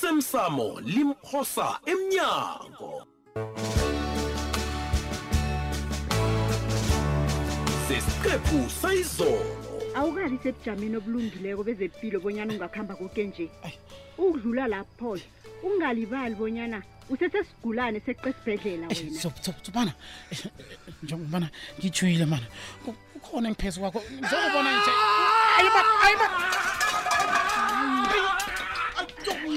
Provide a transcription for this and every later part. osemsamo limphosa emnyango sesiqephu sayizolo awukabi sebujameni obulungileko bezepilo bonyana ungakuhamba koke nje ukudlula lapho-ke ungalibali bonyana usesesigulane seqe esibhedlela Eh, wena sobana njengobana ngijuyile mana ku- kukhona engiphezu kwakho njengobona nje Ayi ma- ayi ma- Ayi,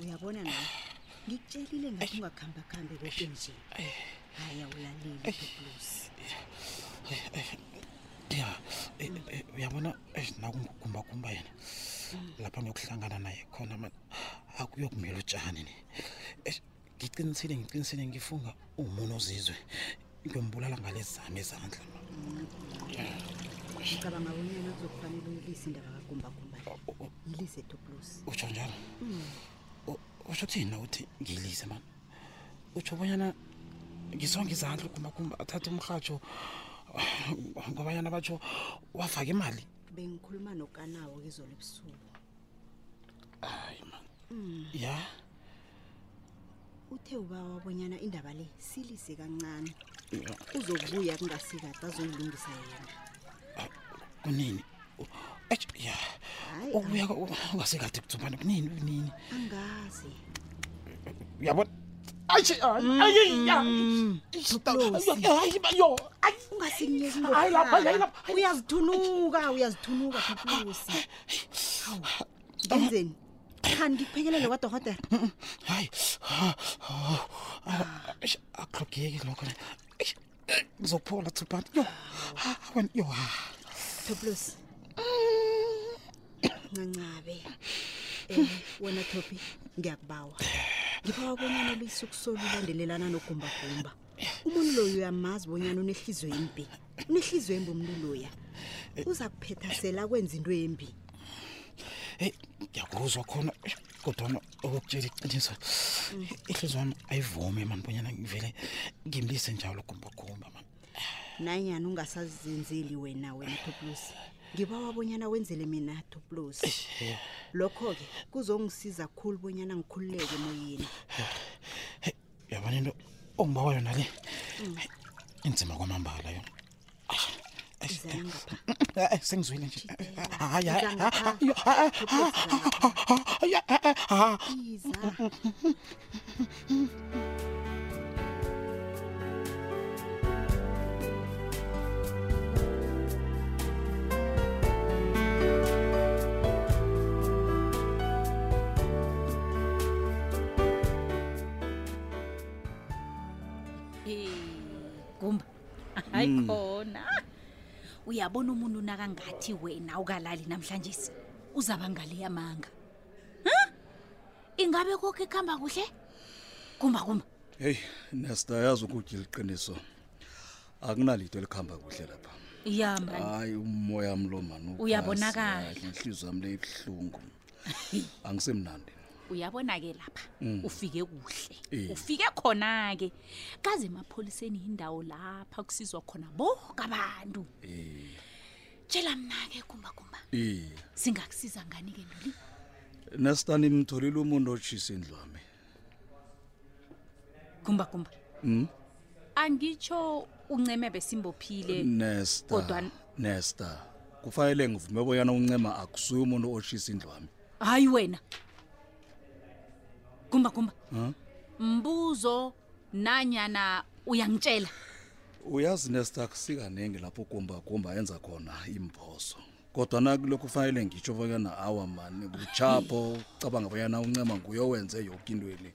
Uyabona na? Ngikutshelile ngathi ungakhamba khambe konke nje. Hayi awulaleli Topless. ya eh, eh, uyabona eh, nakungugumbakumba yena lapha ngiyokuhlangana naye khona mani akuyokumela utshani ni Eh, ngiqinisile ngiqinisile ngifunga uwumuntu ozizwe ngiyombulala ngalezi zami ezandla Ngicabanga bonyana kuzokufanele uyilise indaba kagumbagumba. Yilise Topless. utsho njalo U- usho uthini na uthi ngiyilise mani utsho bonyana ngisonge izandla ugumbakumba athathe umrhatsho ngobanyana batsho wafake imali Bengikhuluma nokanawo izolo ebusuku. hayi mani ya Uthe ubawa bonyana indaba le silise kancane. ya. uzokubuya kungasikade azongilungisa yena kunini Eish, ya Hayi, ukubuya ungasekade kuthumane oh, kunini kunini angazi uyabona ayi ungasiniyeki Hayi lapha, ngokuhlala. hayi lapha. uyazithunuka uyazithunuka phepusi hawu ngenzeni khani ngikuphekelele kwadohotela hayi akuhlogeki lokho le. Eish, eh, ngizokuphola thupane yo ha, wena yo ha. toplus ncancabe um wena topi ngiyakubawa ngiphawa bonyana lisukusoli ulandelelana nogumbagumba umuntu loyo uyamazi bonyana unehliziyo embi unehliziyo embi umuntu loya uza kuphethasela kwenza into embi heyi ngiyakuzwa khona eish, kodwana okukutshela iqiniso ihliziyo wami ayivumi mani bonyana ngivele ngimlise njalo gumbagumba mani nanyani ungasazenzeli wena wena toplus ngibawa bonyana wenzele mina toplus lokho-ke kuzongisiza khulu bonyana ngikhululeke emoyeni Hey, uyabona into ongibawa yona le inzima kwamambala yona Eish, Izana ngapha. eh, eh, sengizwile nje Jidela. Hayi, hayi, Izana ha, ngapha. yo, ha, ha, Topless, izana ha, ha, hayi, ha, ha, ha. iza gumba hayi Hmm. khona uyabona umuntu nakangathi wena ukalali namhlanje uzaba ngaleyamanga ingabe koke kuhamba kuhle gumba gumba heyi nesidayazi ukutya iliqiniso akunalito elikuhamba kuhle lapha iyamba hayi umoya wami lo mani uphasi. Uyabonakala. Hayi, inhliziyo yami le ibuhlungu angisemnandi uyabona-ke lapha ufike kuhle Ah. Hmm. Eh. ufike khona-ke kaze emapholiseni yindawo lapha kusizwa khona boke abantu Eh, tshela mna-ke gumba gumba eh. singakusiza ngani-ke ntoli nesitani mtholile umuntu otshisa indlwami gumba gumba Mm. angitsho unceme besimbophile nesta Kodwa- nesta kufanele ngivume boyana uncema akusuye umuntu otshisa indlwami hayi wena gumba gumba mbuzo nanyana uyangitshela uyazi nesta kusikaningi lapho ukumbakumba yenza khona imphoso kodwa nakulokhu kufanele ngitsho bonyana awa mani butshapho cabanga bonyana uncema nguye owenze yoke intweni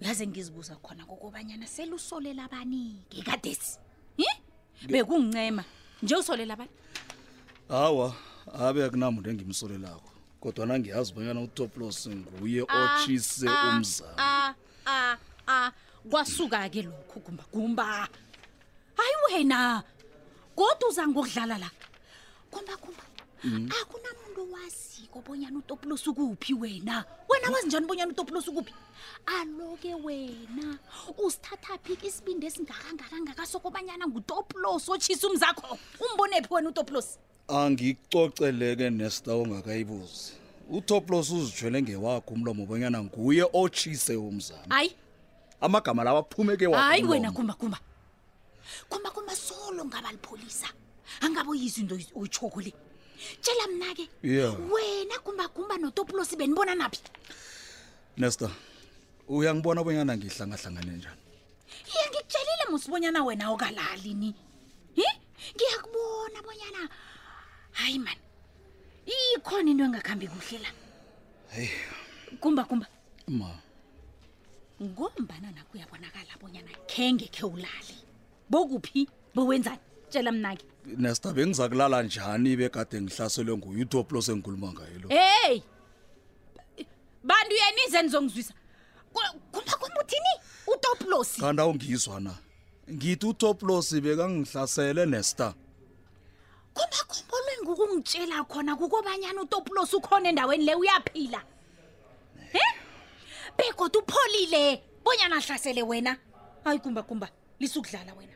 uyaze ngizibuza khona kokobanyana selusolela abani-ke kadesi hi bekungincema nje usolela abani hawa abe akunamuntu engimsolelako kodwa nangiyazi ubonyana utoplos nguye otshise umzamo a a a kwasuka ke lokho gumba gumba hayi wena kodwa uza ngokudlala la gumba gumba Mm. akunamuntu owaziko bonyana utopulusi ukuphi wena wena wazi njani bonyana utopulusi ukuphi aloke wena usithathaphi ke isibindi esingakangakangaka sokobanyana ngutopulosi otshisa umzakho umbonephi wena utopulosi angicoceleke nesta ongakayibuzi utoplos uzitshwele ngewakho umlomo ubonyana nguye otshise umzamo hayi amagama lawo aphumeke hayi wena kumbakumba kumbakumba solo ngaba lipholisa angabe yizo into oyitshoko le tshela mna ke Yeah. wena kumbakumba notopulosi benibona naphi nesta uyangibona bonyana ngihlangahlangane njani iye ngikutshelile musibonyana wena okalali ni hi ngiyakubona bonyana hayi mani ikhona into engakhambi kuhle la kumba kumba ma ngombana nakho uyabonakala bonyana khenge khe ulali bokuphi bowenzani tshela mna ke nesta bengiza kulala njani bekade ngihlaselwe nguye utoplos engikhuluma ngaye lo heyi bantu yenize nizongizwisa Ku- kumba kumba uthini utopulosi kanti awungizwa na ngithi utoplos bekangihlasele nesta kumba kumba olwengukungitshela khona kukobanyana utopulosi ukhona endaweni le uyaphila e begoda upholile bonyana ahlasele wena hayi kumba kumba lisukudlala wena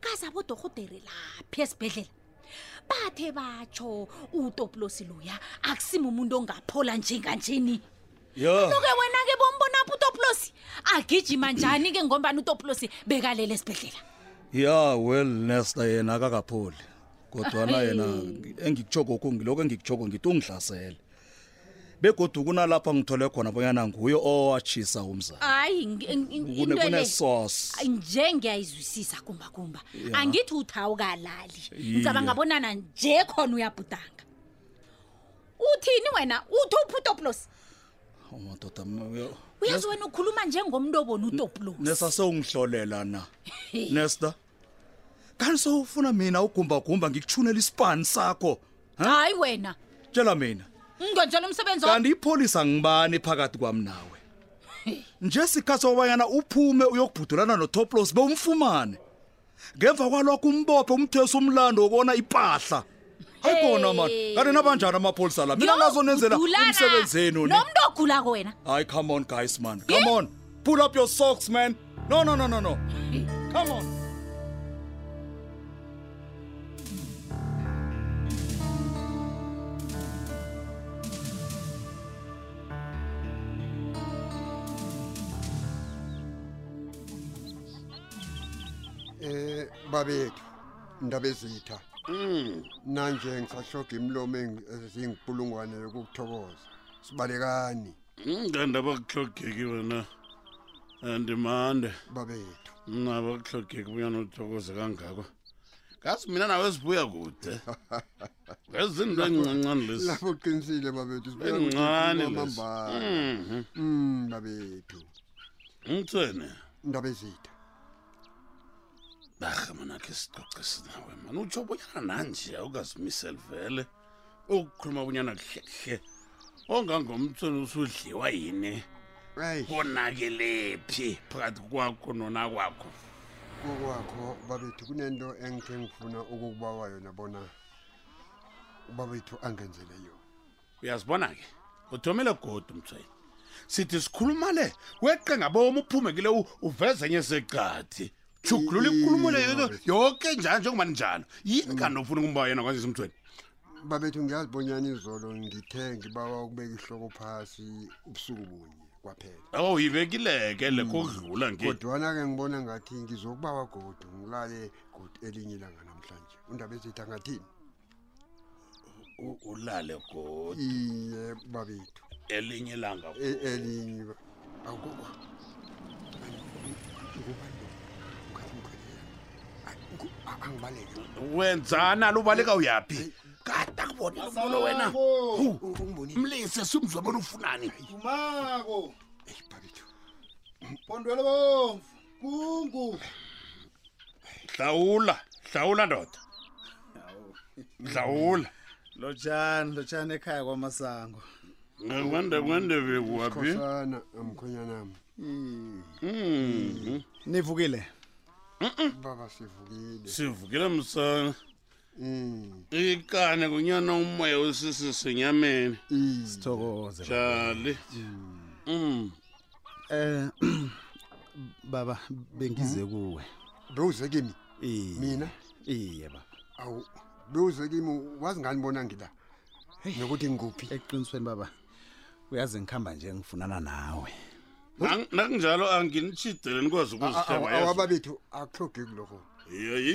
kaze abodorhodere laphi esibhedlela bathe batsho utopulosi luya akusima umuntu ongaphola njenganjeni yo loke wena-ke bombonapho utopulosi agijima njani-ke ngombani utopulosi bekalele esibhedlela ya well nesta yena akakapholi kodwana yena engikutshokokho ngiloko engikutshoko ngithi ungihlasele begodu kunalapha ngithole khona bonyana nguye owatshisa umzamo hayi ngi- ngi- Kune- into le- kunesource. Ayi, nje ngiyayizwisisa kumbakumba angithi uthawukalali Iye. ngicabanga bonana nje khona uyabhudanga uthini wena uthi uphi utoplos amadoda uyazi wena ukhuluma njengomntu obona utoplos nesta sewungihlolela na nesta kanti sewufuna mina ugumbagumba ngikuthunela isipani sakho hayi wena tshela mina ngonjalo umsebenzi wakho? kanti ipholisa ngibani phakathi kwami nawe nje sikhathi sokubanyana uphume uyokubhudulana notoplos bewumfumane ngemva kwalokho umbophe umthesa umlando wokona ipahla ayikhona mani kanti nabanjani amapholisa la mina nazo nenzela Uyokudulana umsebenzi enu ni nomntu ogulako wena hayi come on guys man come on pull up your socks man no no no no no come on Eh babethu indaba ezitha. Mm. Nanje ngisashoga imlomo ezingipulungwane yokuthokoza. Sibalekani ngandaba kuhlogeki wena andimande babethu. mnaba kuhlogeki buyani uthokoze kangako kasi mina nawe sibuya kude ngezinto encincancane lezi Lapho uqinisile babethu sibuya encane kukhuluma lezi amambala. Mhm. Mm babethu ngithene indaba ezitha. barha manakhe sicoce sinawe mani utsho bonyana nanje awukazimiseli vele ukukhuluma bonyana kuhlehle ongangomthweni usudliwa yini Hey konakelephi phakathi kwakho nona kwakho kokwakho babethu kunento engithe ngifuna ukukubawa yona bona ubabethu angenzele yona. uyazibona-ke uthomele godi mthweni sithi sikhuluma le weqe ngabomi uphume kile u- uvezenye seqathi jugulula inkulumo leyo into yoke njalo njengoba ninjalo yini kanti ofuna ukumba yena kwanjesi mthweni Babethu ngiyazibonyana izolo ngithe ngibawa ukubeka ihloko phasi ubusuku bunye kwaphela. aw yibekileke le kodlula nge kodwana-ke ngibona ngathi ngizokuba wagodu ngilale godu elinye ilanga namhlanje undaba ezitha ngathini U- ulale godi iye babethu elinye ilanga E- elinye ba- Awu- Ngathi ngikhwelile. Ayi, ngu- a- angibaleke wenzana lubaleka uyaphi kade akubonile umolo wena Hu, ungibonile mlise simzwe bona ufunani Mako, babethu pondwele bomvu, kungu. hlawula hlawula ndoda hlawula lotshani lotshani ekhaya kwamasango ngakwanda kwande bekuwaphi khosana amkhonyanami nivukile baba sivukile sivukile msana Mm, ikane kunyana umoya osisisenyameni mm. sithokoze jali um eh baba bengize kuwe bewuze kimi Iye. mina iye baba awu bewuze kimi wazi ngani bona ngila nokuthi ngikuphi eqinisweni baba uyazi ngikhamba nje ngifunana nawe nakunjalo anginitshidele nikwazi ukuzihlebayeyi awababethu akuhlogi kulokho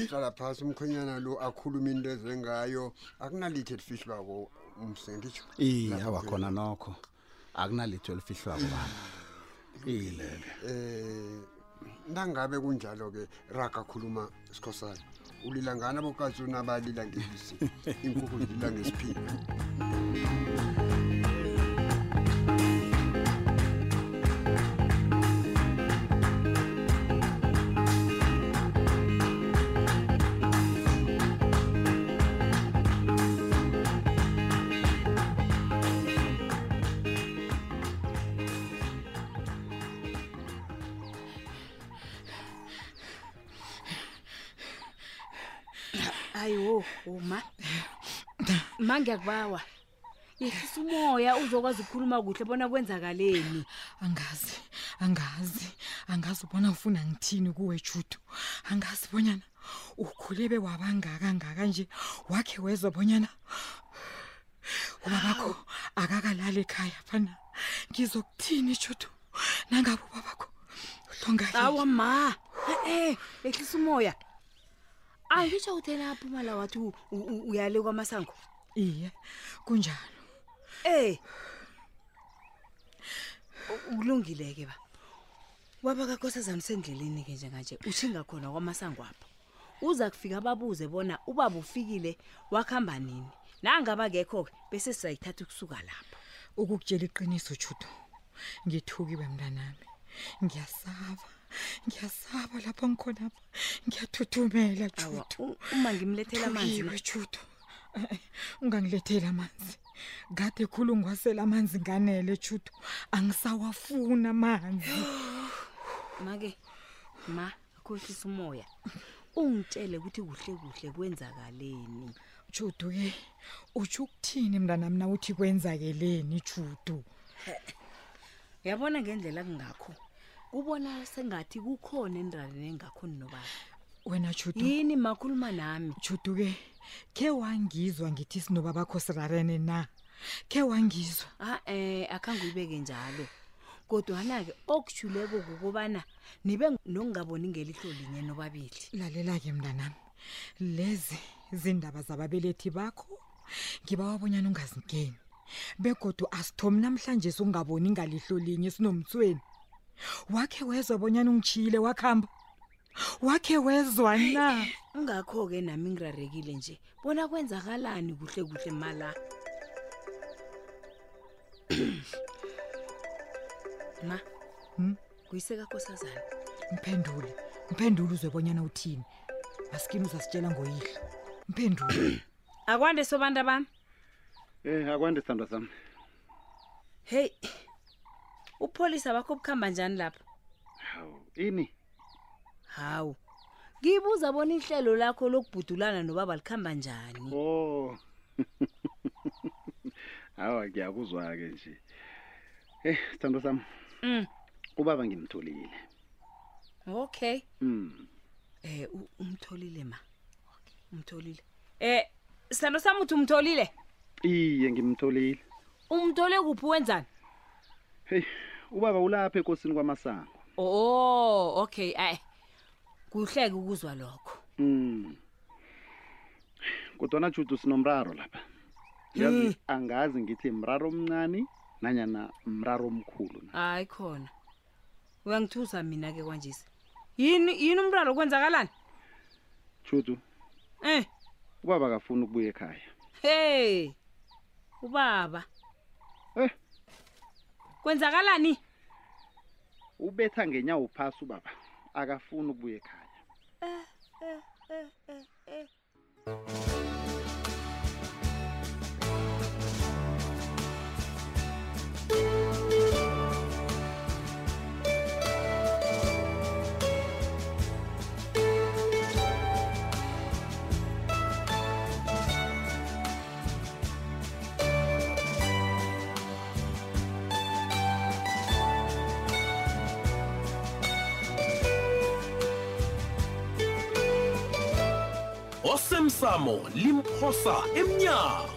hlala phasi umkhonyana lo akhuluma into ezengayo akunalithi elifihlwako umsengitsho iye awakhona nokho akunalitho elifihlwako baba ilele um nangabe kunjalo-ke raga khuluma sikhosana ulila ngani abokazuna balila ngelisi inkukhu zilila ngesiphila hayi wo wo, ma ma ngiyakubawa yehlisa umoya uzokwazi ukukhuluma kuhle bona kwenzakaleni angazi angazi angazi ubona ufuna ngithini kuwe judu angazi bonyana ukhulebe wabangakangaka nje wakhe wezwa bonyana ubabakho akakalali ekhaya fana ngizokuthini judu nangabe ubabakho hlongalela awa ma e-e yehlisa umoya angitsho uthena aphumala wathi u- u- uyale kwamasango iye kunjalo Eh. Ukulungile ke ba. Waba kakhosazana sendleleni ke njenganje ushinga khona kwamasango apha. Uza kufika babuze bona ubaba ufikile wakhamba nini. Nangaba kekho ke bese sizayithatha ukusuka lapha. ukukutshela iqiniso judu ngithukiwe mntanami ngiyasaba ngiyasaba lapho ngikhonapha ngiyathuthumela Awa, judu u- uma ngimlethela amanzi na- Thukiwe Judu. Eh, Ungangiletheli amanzi. Kade khulu ngiwasela amanzi nganele Judu. Angisawafuna amanzi. make ma khohlisa umoya. Ungitshele ukuthi kuhle kuhle kwenzakaleni. Judu ke uthi ukuthini mntana mina uthi kwenzakeleni Judu? Uyabona ngendlela kungakho. Ubona sengathi kukhona endraneni engakhoni nobaba. Wena Judu, yini makhuluma nami Judu ke ke wangizwa ngithi sinoba bakho sirarene na? Ke wangizwa. a-e akhange uyibeke Ah-, eh, njalo kodwana-ke okujuleko kukobana nibe nokungaboni ngelihlo linye nobabili Lalela ke mntanami. Lezi izindaba zababelethi bakho ngibawa bonyana ungazingeni. Begodu asithomi namhlanje singaboni ngalihlo linye sinomtsweni. Wakhe wezwa bonyana ungichile wakhamba. Wakhe wezwa na? ingakho-ke nami ngirarekile nje bona kwenzakalani kuhle kuhle mala ma Hmm? kuyisekakosazana Mphendule. Mphendule uzwe bonyana uthini. Masikini uzasitshela ngoyihlo. Mphendule. akwande sobantu bami eh akwande sithandwa sami heyi upholisa bakho bukhamba njani lapha hawu ini hawu ngibuza bona ihlelo lakho lokubhudulana nobaba likhamba njani Oh. Hawa ngiyakuzwa ke nje. Eh, sithando sami, Mm, ubaba ngimtholile. okay. Mm. Eh u- umtholile ma. Umtholile. Eh sithando sami uthi umtholile? Iye ngimtholile. Umthole kuphi wenzani? Hey, ubaba ulapha enkosini kwaMasango. Oh, okay. Ay. Kuhleke ukuzwa lokho. Mm. Kodwana Judu sinomraro lapha. Yazi angazi ngithi mraro omncane nanyana mraro omkhulu na. Hayi khona. Uyangithusa mina ke kanje. Yini yini umraro kwenzakalani? Judu, Eh, ubaba akafuni ukubuya ekhaya. hey. Ubaba, Eh, kwenzakalani? ubetha ngenyawo phasi ubaba. Akafuni ukubuya ekhaya. osemsamo limphosa emnyango